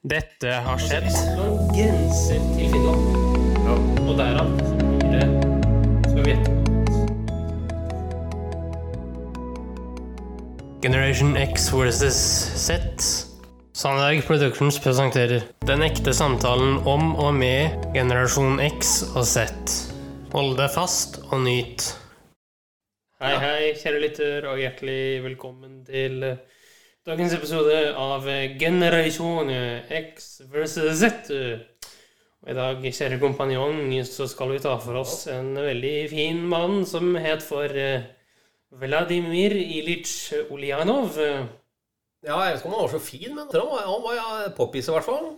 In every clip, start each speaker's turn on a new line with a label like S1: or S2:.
S1: Dette har skjedd.
S2: Noen grenser til Finland. Og derav blir det Sovjetunionen.
S1: Generation X versus Z. Sandberg Productions presenterer den ekte samtalen om og med generasjon X og Z. Hold deg fast og nyt.
S2: Hei, hei, kjære lytter, og hjertelig velkommen til eh, dagens episode av eh, Generasjon X versus Z. Og I dag, kjære kompanjong, så skal vi ta for oss en veldig fin mann som het for eh, Vladimir Ilyich Ulyanov.
S3: Ja, jeg vet ikke om han var så fin, men han var, han var ja, poppis i hvert fall.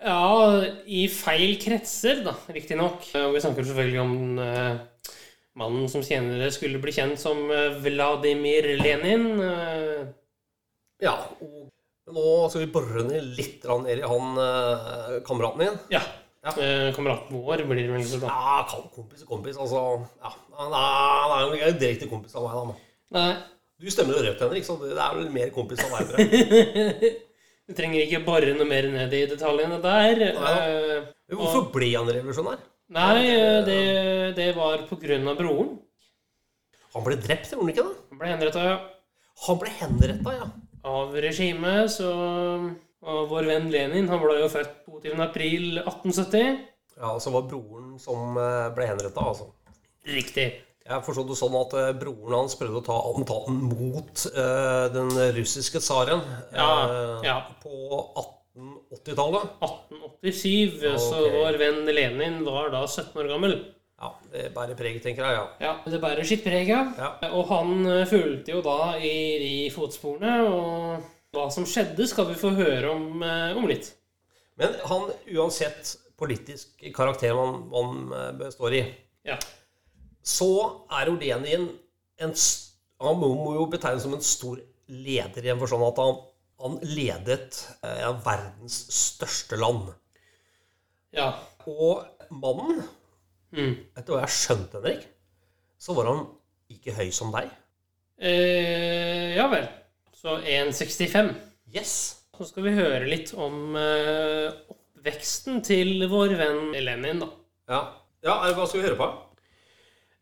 S2: Ja, i feil kretser, da, riktignok. Eh, Og vi snakker selvfølgelig om eh, mannen som senere skulle bli kjent som eh, Vladimir Lenin. eh,
S3: Ja. og Nå skal vi bore ned litt grann ned i han eh, kameraten din.
S2: ja.
S3: Ja.
S2: eh, kameraten vår blir det vel ikke sånn.
S3: Ja, kall han kompis kompis. Altså, ja. Han er, han er jo ikke direkte kompis av meg, da. men.
S2: Nei.
S3: Du stemmer jo rødt, Henrik, så det er vel mer kompis av meg. tror jeg.
S2: Vi trenger ikke bore noe mer ned i detaljene der.
S3: Nei.
S2: Eh,
S3: Men Hvorfor ble han revolusjonær?
S2: nei, eh, det, det var på grunn av broren.
S3: Han ble drept, gjorde han ikke det?
S2: Han ble henretta
S3: Han ble henretta, ja.
S2: av regimet, så Og vår venn Lenin, han ble jo født 22. april 1870.
S3: Ja, Så var broren som eh, ble henretta, altså.
S2: Riktig.
S3: Jeg forstod det sånn at eh, broren hans prøvde å ta attentaten mot eh, den russiske tsaren eh,
S2: Ja, ja.
S3: på 1880-tallet.
S2: 1887, så
S3: Ok.
S2: vår venn Lenin var da 17 år gammel.
S3: Ja, det bærer preg, tenker jeg. ja.
S2: Ja, Det bærer sitt preg, ja.
S3: Ja.
S2: Og han eh, fulgte jo da i de fotsporene. Og hva som skjedde, skal vi få høre om, eh, om litt.
S3: Men han, uansett politisk karakter man, man eh, består i,
S2: Ja.
S3: så er Olenin en s- Han må må jo betegnes som en stor leder, igjen for sånn at han, han ledet eh, verdens største land.
S2: ja.
S3: Og mannen
S2: Mm.
S3: Etter hva jeg har skjønt, Henrik, så var han ikke høy som deg.
S2: Eh, ja vel. Så 1,65.
S3: Yes.
S2: Så skal vi høre litt om eh, oppveksten til vår venn Lenin, da.
S3: Ja. hva skal vi høre på?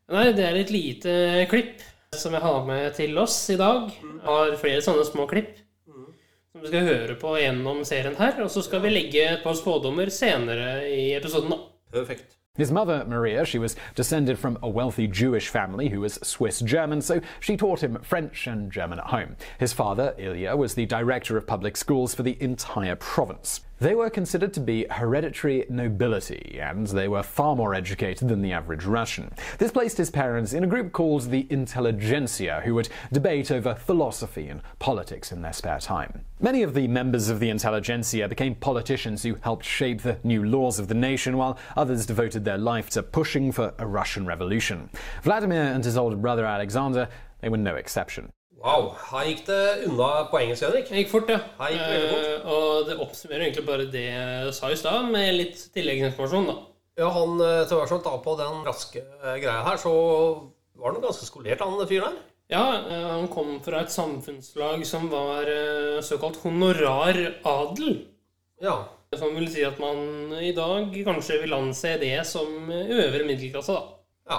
S2: Nei, det er et lite klipp som jeg har med til oss i dag.
S3: Mm.
S2: Jeg har flere sånne små klipp som vi skal høre på gjennom serien her. Og så skal vi legge et par spådommer senere i episoden. da.
S3: Perfekt.
S4: His mother, Maria, she was descended from a wealthy Jewish family who was Swiss German, so she taught him French and German at home. His father, Ilya, was the director of public schools for the entire province. They were considered to be hereditary nobility, and they were far more educated than the average Russian. This placed his parents in a group called the intelligentsia, who would debate over philosophy and politics in their spare time. Many of the members of the intelligentsia became politicians who helped shape the new laws of the nation, while others devoted their life to pushing for a Russian revolution. Vladimir and his older brother Alexander, they were no exception.
S3: Wow. Her gikk det unna på engelsk, Henrik.
S2: Det gikk fort, ja.
S3: Hei, veldig fort.
S2: Eh, og det oppsummerer egentlig bare det jeg sa i stad, med litt tilleggsinformasjon, da.
S3: Ja, han eh, til hver sånn da på den raske eh, greia her, så var han ganske skolert, han fyren her.
S2: Ja, eh, han kom fra et samfunnslag som var eh, såkalt honoraradel.
S3: Ja.
S2: Som vil si at man i dag kanskje vil anse det som eh, øvre middelklasse, da.
S3: Ja.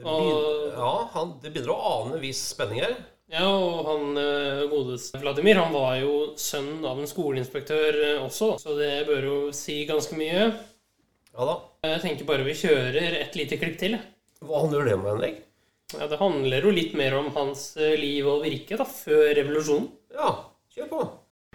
S3: Det begynner, ja, han, det begynner å ane en viss spenning her.
S2: Ja, og han eh, godeste Vladimir han var jo sønn av en skoleinspektør eh, også, så det bør jo si ganske mye.
S3: Ja da.
S2: Jeg tenker bare vi kjører et lite klipp til. jeg.
S3: Hva handler det om, Henrik?
S2: Ja, det handler jo litt mer om hans eh, liv og virke da, før revolusjonen.
S3: Ja, kjør på.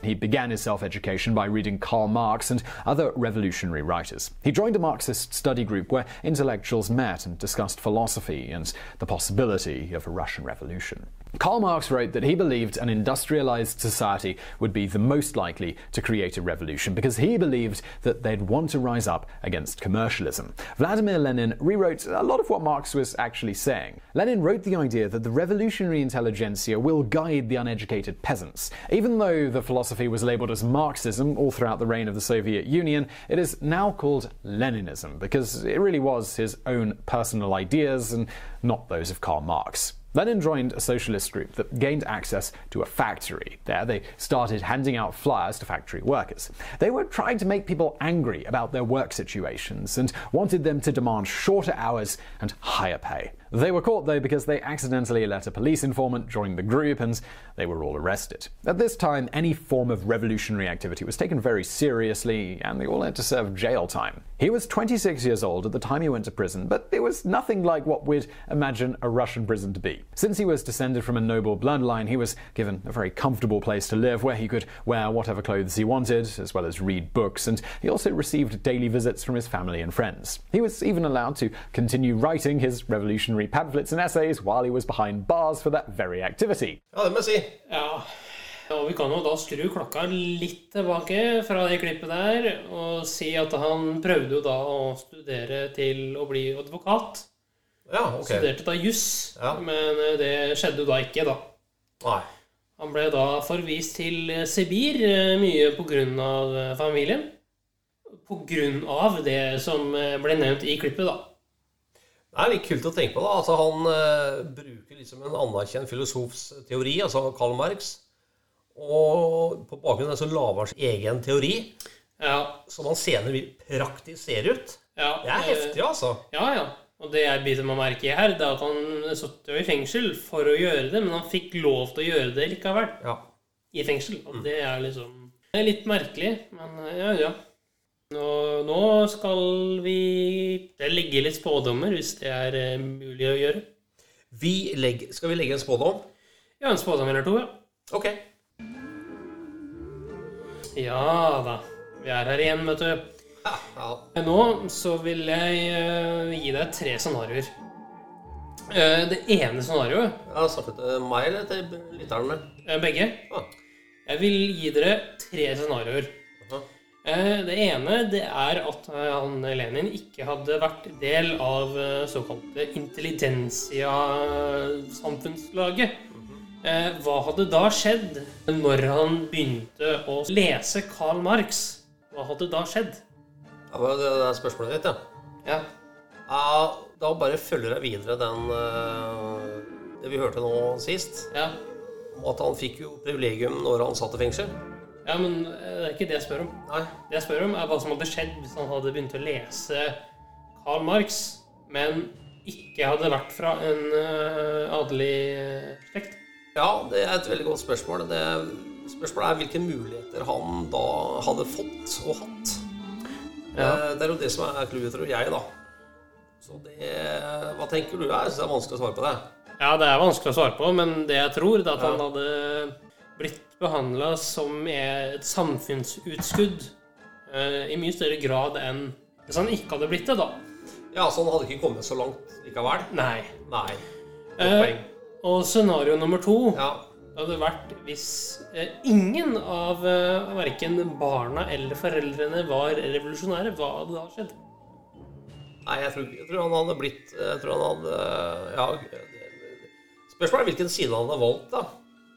S4: He began his self education by reading Karl Marx and other revolutionary writers. He joined a Marxist study group where intellectuals met and discussed philosophy and the possibility of a Russian revolution. Karl Marx wrote that he believed an industrialized society would be the most likely to create a revolution because he believed that they'd want to rise up against commercialism. Vladimir Lenin rewrote a lot of what Marx was actually saying. Lenin wrote the idea that the revolutionary intelligentsia will guide the uneducated peasants. Even though the philosophy was labeled as Marxism all throughout the reign of the Soviet Union, it is now called Leninism because it really was his own personal ideas and not those of Karl Marx. Lenin joined a socialist group that gained access to a factory. There, they started handing out flyers to factory workers. They were trying to make people angry about their work situations and wanted them to demand shorter hours and higher pay. They were caught, though, because they accidentally let a police informant join the group and they were all arrested. At this time, any form of revolutionary activity was taken very seriously and they all had to serve jail time. He was 26 years old at the time he went to prison, but it was nothing like what we'd imagine a Russian prison to be. Since he was descended from a noble bloodline, he was given a very comfortable place to live where he could wear whatever clothes he wanted, as well as read books, and he also received daily visits from his family and friends. He was even allowed to continue writing his revolutionary pamphlets and essays while he was behind bars for that very activity.
S3: Ja, det må jeg si.
S2: Ja. Og vi kan jo da skru klokka litt tilbake fra det klippet der og si at han prøvde jo da å studere til å bli advokat.
S3: Ja, ok.
S2: Studerte da juss,
S3: Ja.
S2: men eh, det skjedde jo da ikke, da.
S3: Nei.
S2: Han ble da forvist til eh, Sibir, eh, mye på grunn av eh, familien. På grunn av det som eh, ble nevnt i klippet, da.
S3: Det er litt kult å tenke på. da. Altså, han eh, bruker liksom en anerkjent filosofs teori, altså Karl Marx. Og på bakgrunn av det så lager han sin egen teori,
S2: Ja,
S3: som han senere vil praktisere ut.
S2: ja.
S3: Det er
S2: eh,
S3: heftig, altså.
S2: Ja, ja. Og det jeg biter meg merke i her, det er at han satt jo i fengsel for å gjøre det, men han fikk lov til å gjøre det likevel.
S3: Ja.
S2: I fengsel. Og det er liksom det er litt merkelig, men eh, ja, ja. Nå, nå skal vi legge litt spådommer, hvis det er eh, mulig å gjøre.
S3: Vi legger, skal vi legge en spådom?
S2: Ja, en spådom eller to, ja.
S3: Ok.
S2: Ja da. Vi er her igjen, vet du.
S3: Ja, ja.
S2: Nå så vil jeg eh, gi deg tre scenarioer. Eh, det ene scenarioet,
S3: Jeg snakket til meg eller til lytterne?
S2: eh, begge,
S3: Ah.
S2: Jeg vil gi dere tre scenarioer.
S3: aha.
S2: Eh, Det ene det er at eh, han Lenin ikke hadde vært del av eh, såkalte intelligensia-samfunnslaget. Eh, Hva hadde da skjedd når han begynte å lese Karl Marx? Hva hadde da skjedd?
S3: Ja, men det, det er spørsmålet ditt, ja.
S2: Ja,
S3: ja. Da bare følger jeg videre den eh, det vi hørte nå sist.
S2: ja.
S3: Om at han fikk jo privilegium når han satt i fengsel.
S2: ja men eh, det er ikke det jeg spør om.
S3: Nei.
S2: Det jeg spør om, er hva som hadde skjedd hvis han hadde begynt å lese Karl Marx, men ikke hadde vært fra en eh, adelig eh, slekt.
S3: Ja, det er et veldig godt spørsmål. Det spørsmålet er hvilke muligheter han da hadde fått og hatt.
S2: Ja.
S3: Eh, Det er jo det som er clouet, tror jeg, da. Så det Hva tenker du? Jeg syns det er vanskelig å svare på det.
S2: Ja, det er vanskelig å svare på, men det jeg tror, det er at han hadde blitt behandla som et samfunnsutskudd eh, i mye større grad enn hvis han ikke hadde blitt det, da.
S3: Ja, så han hadde ikke kommet så langt likevel.
S2: Nei.
S3: Nei. Godt
S2: Eh,
S3: poeng.
S2: og scenario nummer to
S3: Ja.
S2: Det hadde vært hvis eh, ingen av eh, verken barna eller foreldrene var revolusjonære. Hva hadde da skjedd?
S3: Nei, jeg tror, jeg tror han hadde blitt Jeg tror han hadde Ja. Spørsmålet er hvilken side han hadde valgt, da.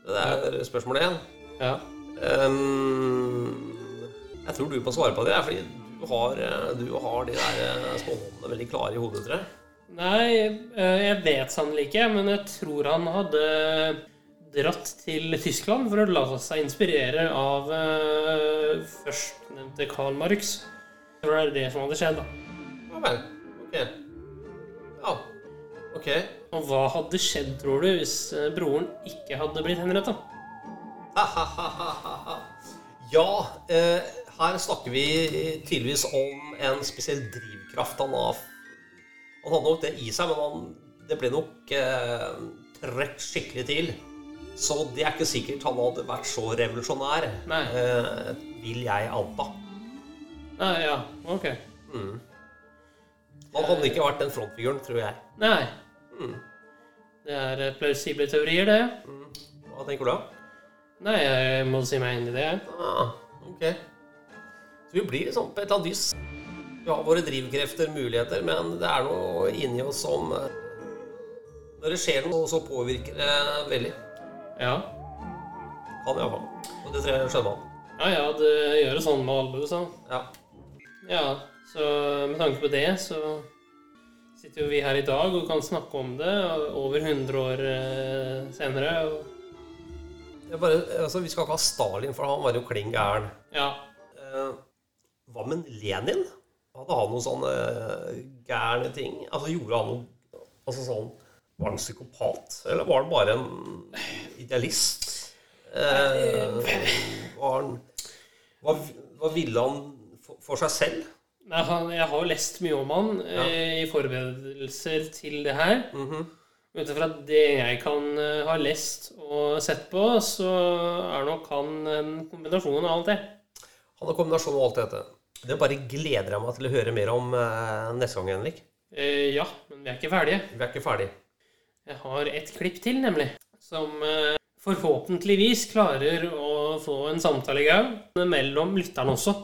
S3: Det er spørsmålet én.
S2: Ja.
S3: Ehm, jeg tror du må svare på det, fordi du har, eh, du har de der eh, spådommene veldig klare i hodet, tror jeg.
S2: Nei, eh, jeg vet sannelig ikke, men jeg tror han hadde dratt til Tyskland for å la seg inspirere av eh, førstnevnte Karl Marx. Jeg tror det er det som hadde skjedd, da.
S3: Ja vel. Ok. Ja. Ok.
S2: Og hva hadde skjedd, tror du, hvis eh, broren ikke hadde blitt henretta?
S3: Ja, eh, her snakker vi tydeligvis om en spesiell drivkraft han har. Han hadde nok det i seg, men han, det ble nok eh, trøkk skikkelig til. Så det er ikke sikkert han hadde vært så revolusjonær,
S2: Nei.
S3: eh, vil jeg anta.
S2: Nei, ja, ok.
S3: Han hadde ikke vært den frontfiguren, tror jeg.
S2: Nei. Det er eh, plausible teorier, det.
S3: Hva tenker du da?
S2: Nei, jeg må si meg enig i det. jeg.
S3: Ah, ok. Så vi blir liksom på et eller annet vis Vi har våre drivkrefter, muligheter, men det er noe inni oss som eh, Når det skjer noe, så påvirker det veldig.
S2: Ja.
S3: Kan iallfall. Og det tror jeg skjønner han.
S2: ja, ja, det gjør det sånn med alle, du sa.
S3: Ja.
S2: Ja, så med tanke på det, så sitter jo vi her i dag og kan snakke om det og over 100 år eh, senere. Og,
S3: Jeg bare, altså, vi skal ikke ha Stalin, for han var jo kling gæren.
S2: ja.
S3: Eh, hva med Lenin? Hadde han noen sånne eh, gærne ting? Altså Gjorde han noe altså, sånn, Var han psykopat? Eller var han bare en idealist? Eh, var han hva, hva ville han for, for seg selv?
S2: Nei, han, jeg har jo lest mye om han eh, i forberedelser til det her. Ut ifra det jeg kan eh, ha lest og sett på, så er nok han en kombinasjon av alt det.
S3: Han har kombinasjon av alt dette. Det bare gleder jeg meg til å høre mer om eh, neste gang, Henrik.
S2: Eh, ja, men vi er ikke ferdige.
S3: Vi er ikke ferdig.
S2: Jeg har et klipp til, nemlig. Som eh, forhåpentligvis klarer å få en samtale i gang mellom lytterne også.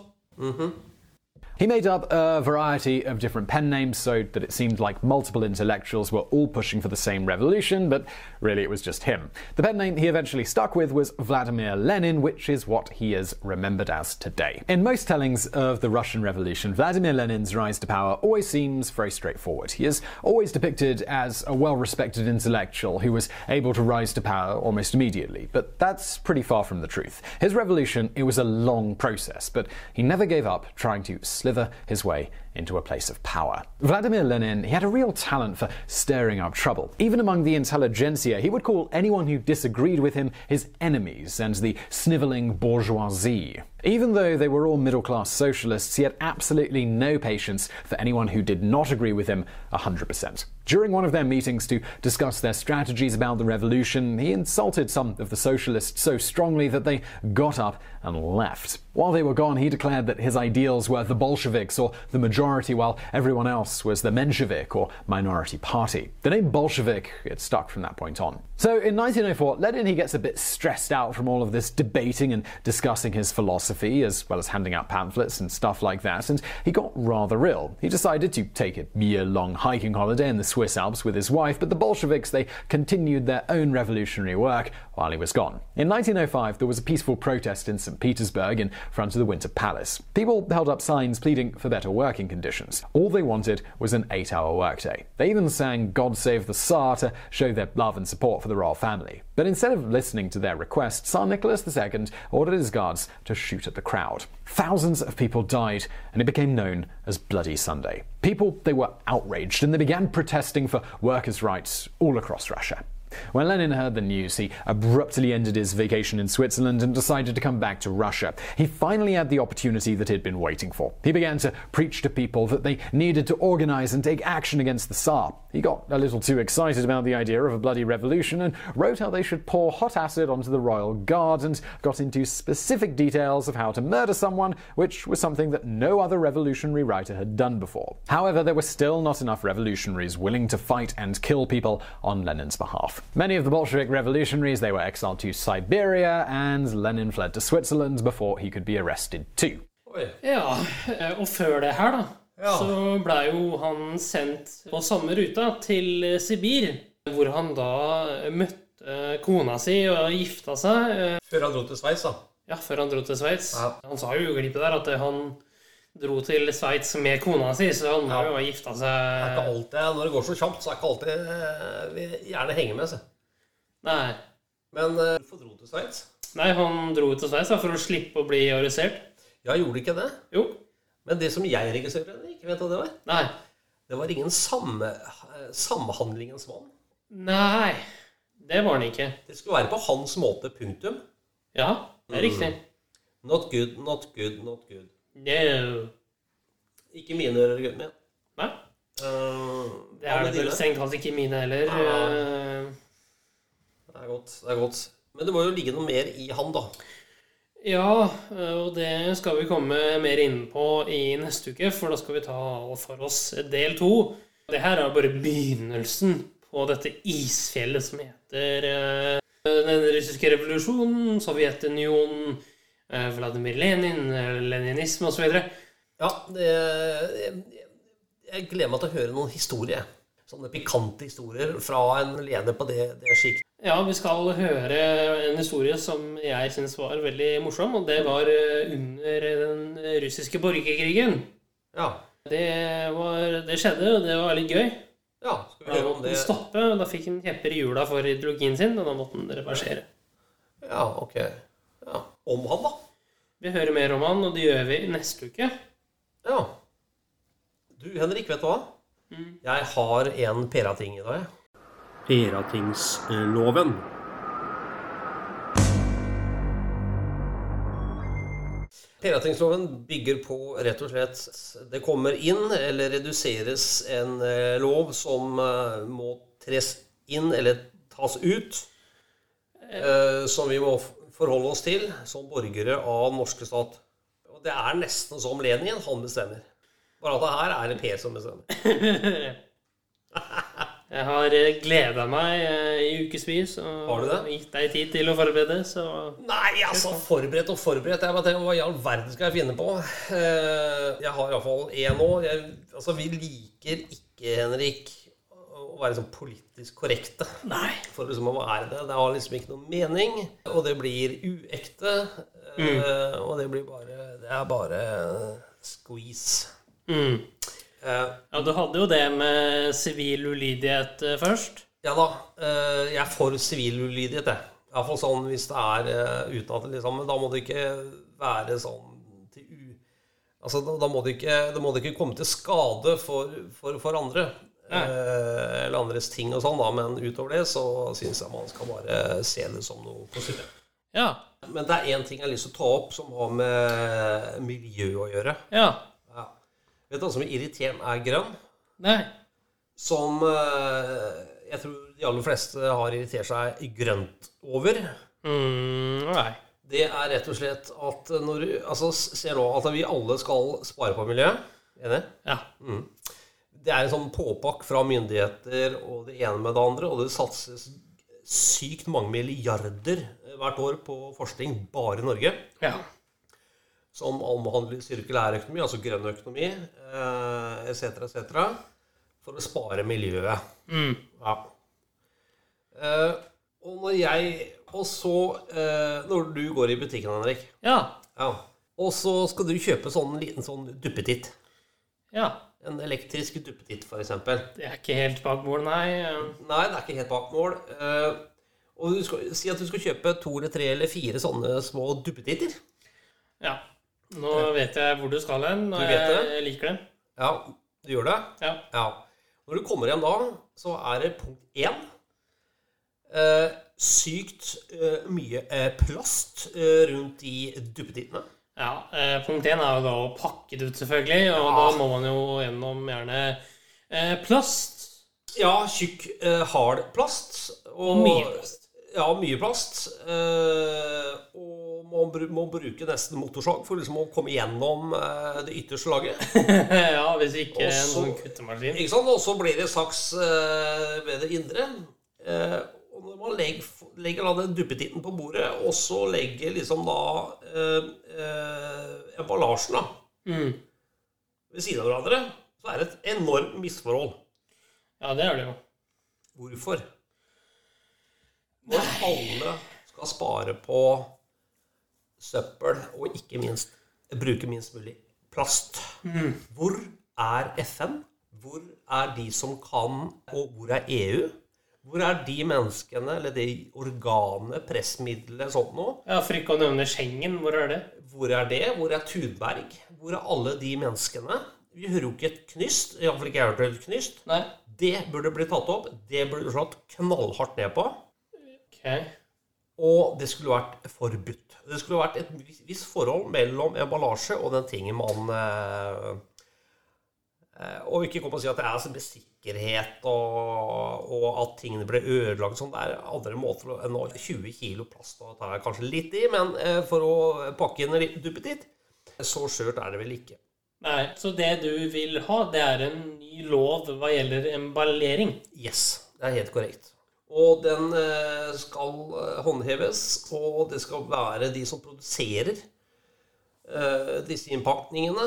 S4: He made up a variety of different pen names so that it seemed like multiple intellectuals were all pushing for the same revolution, but really it was just him. The pen name he eventually stuck with was Vladimir Lenin, which is what he is remembered as today. In most tellings of the Russian Revolution, Vladimir Lenin's rise to power always seems very straightforward. He is always depicted as a well respected intellectual who was able to rise to power almost immediately, but that's pretty far from the truth. His revolution, it was a long process, but he never gave up trying to slither his way into a place of power. Vladimir Lenin, he had a real talent for stirring up trouble. Even among the intelligentsia, he would call anyone who disagreed with him his enemies and the sniveling bourgeoisie. Even though they were all middle class socialists, he had absolutely no patience for anyone who did not agree with him 100%. During one of their meetings to discuss their strategies about the revolution, he insulted some of the socialists so strongly that they got up and left. While they were gone, he declared that his ideals were the Bolsheviks or the majority, while everyone else was the Menshevik or minority party. The name Bolshevik, it stuck from that point on. So in 1904, Lenin, he gets a bit stressed out from all of this debating and discussing his philosophy, as well as handing out pamphlets and stuff like that, and he got rather ill. He decided to take a year long hiking holiday in the Swiss Alps with his wife, but the Bolsheviks, they continued their own revolutionary work while he was gone. In 1905, there was a peaceful protest in St. Petersburg in front of the Winter Palace. People held up signs pleading for better working conditions. All they wanted was an eight hour workday. They even sang God Save the Tsar to show their love and support for the royal family. But instead of listening to their request, Tsar Nicholas II ordered his guards to shoot at the crowd. Thousands of people died, and it became known as Bloody Sunday. People, they were outraged, and they began protesting for workers' rights all across Russia. When Lenin heard the news, he abruptly ended his vacation in Switzerland and decided to come back to Russia. He finally had the opportunity that he'd been waiting for. He began to preach to people that they needed to organize and take action against the Tsar. He got a little too excited about the idea of a bloody revolution and wrote how they should pour hot acid onto the royal guard and got into specific details of how to murder someone, which was something that no other revolutionary writer had done before. However, there were still not enough revolutionaries willing to fight and kill people on Lenin's behalf. Many of the Bolshevik revolutionaries, they were exiled to Siberia, and Lenin fled to Switzerland before he could be arrested too.
S3: Oi.
S2: Ja, eh, og før det her, da,
S3: Ja.
S2: så blei jo han sendt på samme ruta til eh, Sibir. Hvor han da møtte eh, kona si og gifta seg. eh,
S3: Før han dro til Sveits, da.
S2: Ja, før han dro til Sveits.
S3: Ja.
S2: Han sa jo i klippet der at eh, han dro til Sveits med kona si, så han må jo ha gifta
S3: Det er ikke
S2: seg
S3: alltid, når det går så kjapt, så er det ikke alltid eh, vi gjerne henger med. Så.
S2: Nei.
S3: Men eh, hvorfor dro du til Sveits?
S2: Nei, han dro til Sveits da, for å slippe å bli arrestert.
S3: Ja, gjorde ikke det.
S2: Jo.
S3: Men det som jeg registrerte, Henrik, vet du hva det var?
S2: Nei.
S3: Det var ingen samme, eh, samhandlingens mann.
S2: Nei. Det var han ikke.
S3: Det skulle være på hans måte, punktum.
S2: Ja, det er riktig.
S3: Mm. Not good, not good, not good.
S2: No.
S3: Ikke mine argumenter.
S2: Nei.
S3: Eh,
S2: Det
S3: hva
S2: er det
S3: med
S2: vel
S3: dine?
S2: strengt tatt ikke mine heller.
S3: Ja.
S2: Eh,
S3: Det er godt. det er godt. Men det må jo ligge noe mer i han, da.
S2: Ja, eh, og det skal vi komme mer inn på i neste uke, for da skal vi ta for oss del to. Det her er bare begynnelsen på dette isfjellet som heter eh, den russiske revolusjonen, Sovjetunionen, eh, Vladimir Lenin, eh, leninisme osv.
S3: Ja, det, jeg, jeg gleder meg til å høre noen historier. Sånne pikante historier fra en leder på det, det sjiktet.
S2: Ja, vi skal høre en historie som jeg syns var veldig morsom, og det var eh, under den russiske borgerkrigen.
S3: Ja.
S2: Det, var, det skjedde, og det var veldig gøy.
S3: Ja, skal vi
S2: Da
S3: høre om
S2: måtte
S3: det
S2: han stoppe, og da fikk han kjepper i hjula for ideologien sin, og da måtte han reversere.
S3: Ja, ok. Ja. Om han, da.
S2: Vi hører mer om han, og det gjør vi neste uke.
S3: Ja. Du, Henrik, vet du hva? Jeg har en perating i dag. jeg.
S5: Peratingsloven.
S3: Piratingsloven bygger på rett og slett det kommer inn eller reduseres en eh, lov som eh, må tres inn eller tas ut, eh, som vi må f- forholde oss til som borgere av den norske stat. Og det er nesten som Lenin, han bestemmer. Bare at det her er det Per som bestemmer.
S2: Jeg har gleda meg eh, i ukevis og
S3: Har du det?
S2: gitt deg tid til å forberede, så
S3: Nei, altså, forberedt og forberedt. Jeg bare tenker, Hva i all verden skal jeg finne på? Eh, Jeg har iallfall én nå. Jeg, altså, vi liker ikke, Henrik, å være sånn politisk korrekte.
S2: Nei.
S3: For liksom å være det. Det har liksom ikke noen mening, og det blir uekte. eh, Og det blir bare Det er bare squeeze.
S2: Mm.
S3: Eh,
S2: Ja, du hadde jo det med sivil ulydighet eh, først.
S3: Ja da. eh, Jeg er for sivil ulydighet, jeg. Iallfall sånn hvis det er eh, uten at det liksom Men da må det ikke være sånn til u... Altså, da, da må det ikke, det må det ikke komme til skade for, for, for andre. eh, Eller andres ting og sånn, da. Men utover det så syns jeg man skal bare se det som noe positivt.
S2: Ja.
S3: Men det er én ting jeg har lyst til å ta opp som har med miljø å gjøre.
S2: Ja.
S3: Ja. Vet du hva som irriterer meg er grønn?
S2: Nei.
S3: som eh, jeg tror de aller fleste har irritert seg grønt over.
S2: Mm, nei.
S3: Det er rett og slett at når du altså, s- ser nå at vi alle skal spare på miljøet. Enig?
S2: Ja.
S3: Det er en sånn påpakk fra myndigheter og det ene med det andre, og det satses sykt mange milliarder eh, hvert år på forskning bare i Norge.
S2: Ja.
S3: som omhandler sirkulær økonomi, altså grønn økonomi, eh, etc., etc., for å spare miljøet.
S2: Mm.
S3: Ja. Eh, og når jeg Og så, eh, når du går i butikken, Henrik,
S2: Ja.
S3: ja. og så skal du kjøpe sånn liten sånn duppetitt.
S2: Ja.
S3: En elektrisk duppetitt, f.eks.
S2: Det er ikke helt bak mål, nei. Eh,
S3: Nei, det er ikke helt bak mål. Eh, og du skal, si at du skal kjøpe to eller tre eller fire sånne små duppetitter.
S2: Ja. Nå vet jeg hvor du skal hen, og
S3: Du vet
S2: jeg,
S3: det?
S2: jeg liker det.
S3: Ja, du gjør det?
S2: Ja.
S3: Ja. Når du kommer hjem da, så er det punkt én eh, Sykt eh, mye eh, plast eh, rundt de duppedittene.
S2: ja. Eh, punkt én er jo da å pakke det ut, selvfølgelig, og da må man jo gjennom gjerne eh, plast.
S3: Ja, tjukk, eh, hard plast.
S2: Og mye plast.
S3: Ja, mye plast. Eh, og man bru- må bruke nesten motorsag for liksom å komme gjennom eh, det ytterste laget.
S2: ja, hvis ikke
S3: Og
S2: en
S3: så-
S2: sånn kuttemaskin.
S3: Ikke sant? Og så blir det saks eh, ved det indre. Eh, og når man legger, legger da den duppetitten på bordet, og så legger liksom da eh, eh, emballasjen da,
S2: Mm.
S3: ved siden av hverandre, så er det et enormt misforhold.
S2: Ja, det er det jo.
S3: Hvorfor? Når alle skal spare på søppel, og ikke minst bruke minst mulig plast. Hvor er FN? Hvor er de som kan, og hvor er EU? Hvor er de menneskene, eller de organene, pressmidlene, sånt noe?
S2: Ja, For ikke å nevne Schengen, hvor er det?
S3: Hvor er det? Hvor er Thunberg? Hvor er alle de menneskene? Vi hører jo ikke et knyst. Iallfall ikke jeg har hørt et knyst.
S2: Nei.
S3: Det burde bli tatt opp. Det burde du slått knallhardt ned på.
S2: Ok.
S3: Og det skulle vært forbudt. Det skulle vært et vis- visst forhold mellom emballasje og den tingen man eh, eh, Og ikke kom og si at det er så med sikkerhet, og, og at tingene ble ødelagt sånn. Det er andre måter å- enn å 20 kilo plast og tar jeg kanskje litt i, men eh, for å pakke inn en liten duppetitt Så skjørt er det vel ikke.
S2: Nei, Så det du vil ha, det er en ny lov hva gjelder emballering?
S3: Yes, det er helt korrekt. Og den eh, skal eh, håndheves, og det skal være de som produserer eh, disse innpakningene,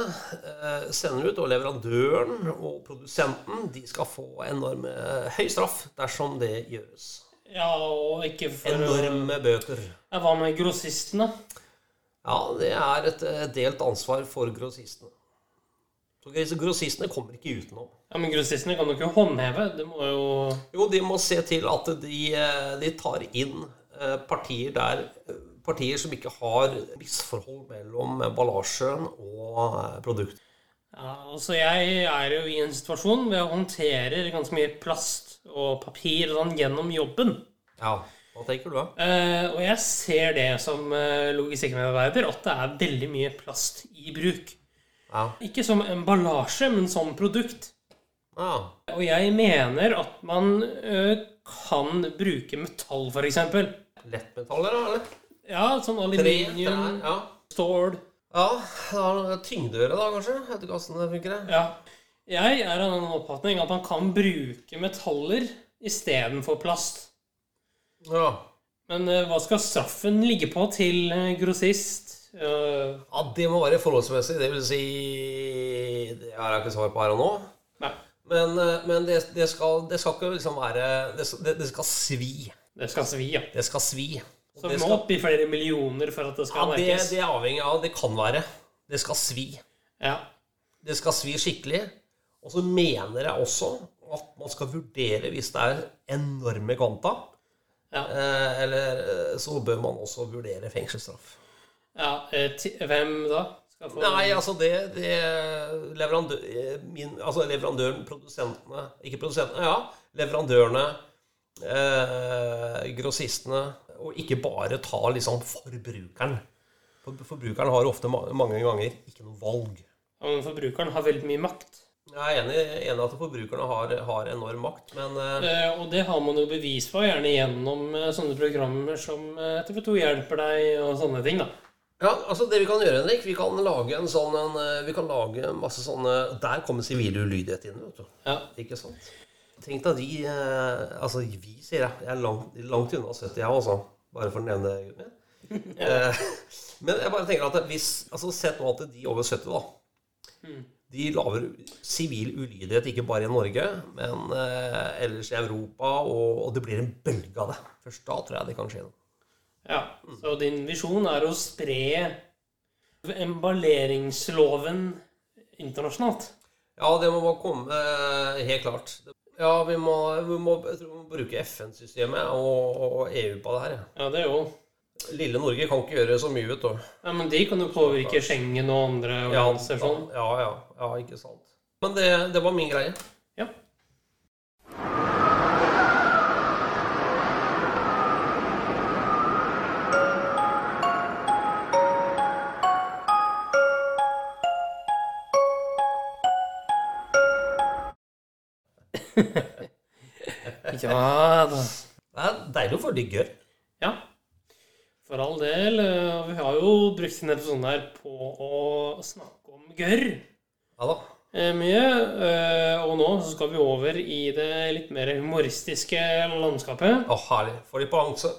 S3: eh, sender ut, og leverandøren og produsenten, de skal få enorme eh, høy straff dersom det gjøres.
S2: Ja, og ikke for
S3: Enorme bøter.
S2: Ja, Hva med grossisten, da?
S3: Ja, det er et eh, delt ansvar for grossistene. Så gr- Grossistene kommer ikke utenom.
S2: Ja, Men grossistene kan du ikke håndheve. Det må jo
S3: Jo, de må se til at de, eh, de tar inn eh, partier der eh, Partier som ikke har misforhold mellom emballasjen og eh, produktet.
S2: ja, Altså, jeg er jo i en situasjon hvor jeg håndterer ganske mye plast og papir og sånn gjennom jobben.
S3: Ja, hva tenker du da?
S2: Eh, og jeg ser det som eh, logistikkmedarbeider at det er veldig mye plast i bruk.
S3: Ja.
S2: Ikke som emballasje, men som produkt.
S3: ja.
S2: Og jeg mener at man eh, kan bruke metall, f.eks.
S3: Lettmetaller, da? eller?
S2: Ja, sånn
S3: Tre,
S2: aluminium,
S3: trær, ja.
S2: stål
S3: ja. Det er noe tyngdeøre, da, kanskje? Jeg vet ikke hvordan det funker. jeg.
S2: Ja. Jeg er av den oppfatning at man kan bruke metaller istedenfor plast.
S3: Ja.
S2: Men eh, hva skal straffen ligge på til eh, grossist? Eh,
S3: ja, det må være forholdsmessig. Det vil si Det har jeg ikke svar på her og nå.
S2: nei,
S3: Men, eh, men det, det, skal, det skal ikke liksom være Det, det, det skal svi.
S2: det skal svi, ja.
S3: Det skal svi. Og
S2: Så
S3: det
S2: vi må
S3: skal-
S2: opp i flere millioner for at det
S3: Ja,
S2: skal
S3: det,
S2: merkes.
S3: det er avhengig av. Det kan være. Det skal svi.
S2: Ja.
S3: Det skal svi skikkelig. Og så mener jeg også at man skal vurdere hvis det er enorme kvanta.
S2: Ja.
S3: Eh, eller, eh, så bør man også vurdere fengselsstraff.
S2: ja. eh, ti- Hvem da? Skal få
S3: Nei, altså det, det leverandør, eh, min, Altså leverandøren, produsentene Ikke produsentene, ja. Leverandørene, eh, grossistene Og ikke bare ta liksom forbrukeren. For, forbrukeren har ofte ma mange ganger ikke noe valg.
S2: Ja, men Forbrukeren har veldig mye makt.
S3: Jeg er enig, enig at forbrukerne har, har enorm makt, men eh,
S2: Eh, og det har man jo bevis på, gjerne gjennom eh, sånne programmer som eh, TV2 hjelper deg og sånne ting. da.
S3: Ja, altså det vi kan gjøre, Henrik, vi kan lage en sånn en, eh, Vi kan lage masse sånne Der kommer sivil ulydighet inn, vet du.
S2: Ja.
S3: Ikke sant? Tenk deg de eh, Altså, vi, sier jeg. Jeg er langt, langt unna 70, jeg, altså. Bare for den ene gutten min. Eh, men jeg bare tenker at hvis altså Sett nå at de over 70, da. De lager sivil ulydighet ikke bare i Norge, men eh, ellers i Europa, og, og det blir en bølge av det. Først da tror jeg det kan skje noe.
S2: Ja, Så din visjon er å spre emballeringsloven internasjonalt?
S3: Ja, det må bare komme eh, helt klart. Ja, vi må, vi må, jeg tror vi må bruke FN-systemet og, og EU på det her. ja.
S2: Ja, det er jo
S3: Lille Norge kan ikke gjøre så mye, vet du.
S2: ja, Men de kan jo påvirke Schengen og andre
S3: Ja,
S2: allianser sånn.
S3: ja, ja, ja, ikke sant. Men det, det var min greie.
S2: Ja. ja da.
S3: Det er deilig å få litt gørr.
S2: Ja. For all del. eh, Vi har jo brukt denne episoden her på å snakke om gørr
S3: Ja da.
S2: eh, mye. eh, Og nå så skal vi over i det litt mer humoristiske landskapet.
S3: Å, herlig. Få litt balanse.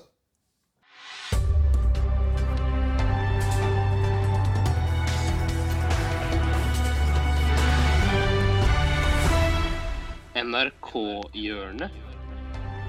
S2: NRK-hjørnet.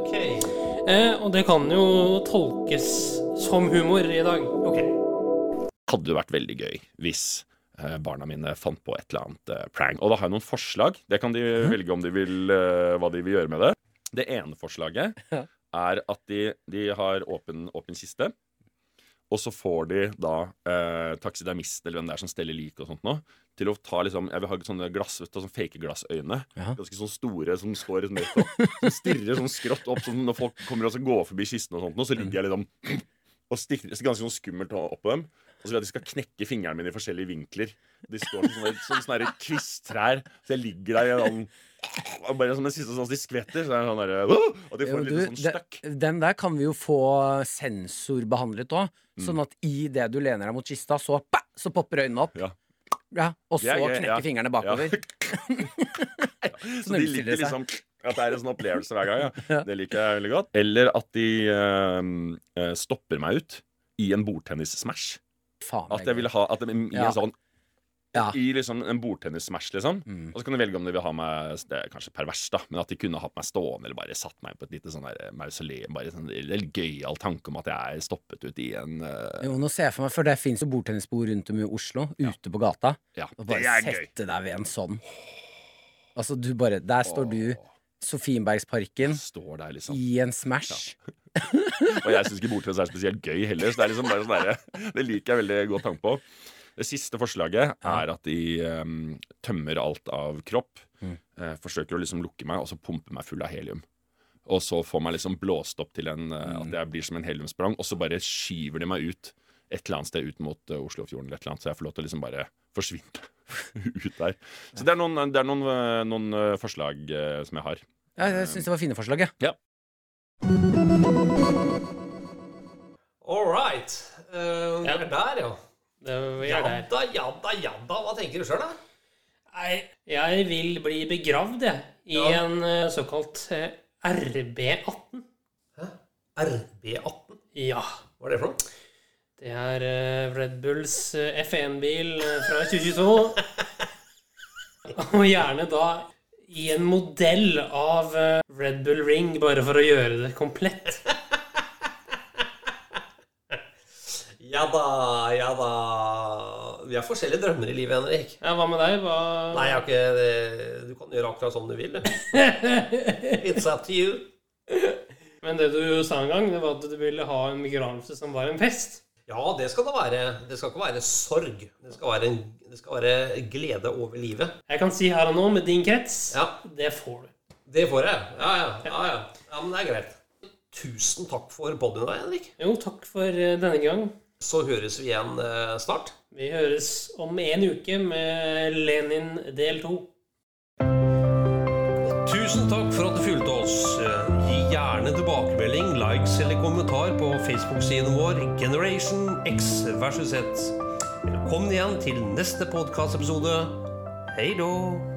S3: ok.
S2: Eh, og det kan jo tolkes som humor i dag.
S3: Ok.
S5: hadde jo vært veldig gøy hvis eh, barna mine fant på et eller annet eh, prank. Og da har jeg noen forslag. Det kan de velge om de vil, eh, hva de vil gjøre med det. Det ene forslaget er at de, de har åpen, åpen kiste. Og så får de da eh, taksidemist eller hvem det er som steller lik og sånt nå, til å ta liksom Jeg vil ha sånne glass, vet du, sånn fake glassøyne. Ganske sånn store som står liksom rett opp. Som stirrer sånn skrått opp som når folk kommer og så går forbi kisten og sånt nå, så ligger jeg liksom og stikker ganske sånn skummelt opp på dem. Og så vil jeg at de skal knekke fingrene mine i forskjellige vinkler. De står som sånne, som sånne her kvisttrær. Så jeg ligger der i en sånn og Bare som den siste sånn de skvetter, så er det sånn derre «Åh!» Og de får
S6: Jo,
S5: en
S6: du,
S5: liten sånn støkk.
S6: de- Den der kan vi jo få sensorbehandlet òg.
S5: Mm.
S6: Sånn at i det du lener deg mot kista, så, pa, så popper øynene opp.
S5: Ja.
S6: Ja, og så
S5: Det er gøy,
S6: knekker
S5: ja.
S6: fingrene bakover.
S5: Ja. Så de liker
S6: nullstiller seg.
S5: liksom at det er en sånn opplevelse hver gang. Ja. Det liker jeg veldig godt. Eller at de eh, eh, stopper meg ut i en bordtennis-smash.
S6: Faen,
S5: At jeg ville ha at de, i
S6: Ja.
S5: en sånn
S6: Ja.
S5: I liksom en bordtennis-smash, liksom.
S6: Mm.
S5: Og så kan du velge om de vil ha meg Det er kanskje perverst, da, men at de kunne hatt meg stående eller bare satt meg på et lite sånn der mausoleum. Bare sånn en litt gøyal tanke om at jeg er stoppet ut i en eh,
S6: Jo, nå ser jeg for meg, for det fins jo bordtennisbord rundt om i Oslo, ute på gata.
S5: Ja, det
S6: Og bare
S5: er gøy.
S6: sette deg ved en sånn. Altså, du bare Der står du, Sofienbergsparken,
S5: Står der, liksom.
S6: i en Smash.
S5: Og jeg syns ikke bordtennis er spesielt gøy heller, så det er liksom bare sånn derre- Det liker jeg veldig godt tanke på. Det siste forslaget er at de ehm, tømmer alt av kropp, eh, forsøker å liksom lukke meg, og så pumper meg full av helium. Og så får meg liksom blåst opp til en, eh, at jeg blir som en heliumsprang, og så bare skyver de meg ut et eller annet sted ut mot eh, Oslofjorden eller et eller annet, så jeg får lov til å liksom bare forsvinne ut der. Så det er noen, det er noen, eh, noen eh, forslag eh, som jeg har.
S6: Ja, jeg syns det var fine forslag, jeg.
S3: All right. Eh, vi
S2: Ja.
S3: er der, ja.
S2: Det vi
S3: Ja
S2: er der.
S3: da, ja da, ja da. Hva tenker du sjøl, da?
S2: Nei, jeg vil bli begravd, jeg. I
S3: Ja.
S2: en eh, såkalt eh, RB18.
S3: RB18.
S2: Ja.
S3: Hva er det for noe?
S2: Det er eh, Red Bulls eh, F1-bil eh, fra 2022. Og gjerne da i en modell av eh, Red Bull Ring, bare for å gjøre det komplett.
S3: Ja da, ja da. Vi har forskjellige drømmer i livet, Henrik.
S2: Ja, hva med deg? Hva
S3: Nei, jeg har ikke det. Du kan gjøre akkurat som du vil. du. It's up to you.
S2: Men det du sa en gang, det var at du ville ha en begravelse som var en fest.
S3: Ja, det skal det være. Det skal ikke være sorg. Det skal være, en, det skal være glede over livet.
S2: Jeg kan si her og nå, med din krets,
S3: Ja.
S2: det får du.
S3: Det får jeg. Ja, ja. ja, ja. ja men det er greit. Tusen takk for podden, da, Henrik.
S2: Jo, takk for eh, denne gang.
S3: Så høres vi igjen eh, snart.
S2: Vi høres om en uke med Lenin del to.
S3: Tusen takk for at du fulgte oss. Eh, Gi gjerne tilbakemelding, likes eller kommentar på Facebook-siden vår Generation X versus Z. Velkommen igjen til neste podkastepisode. Hei då!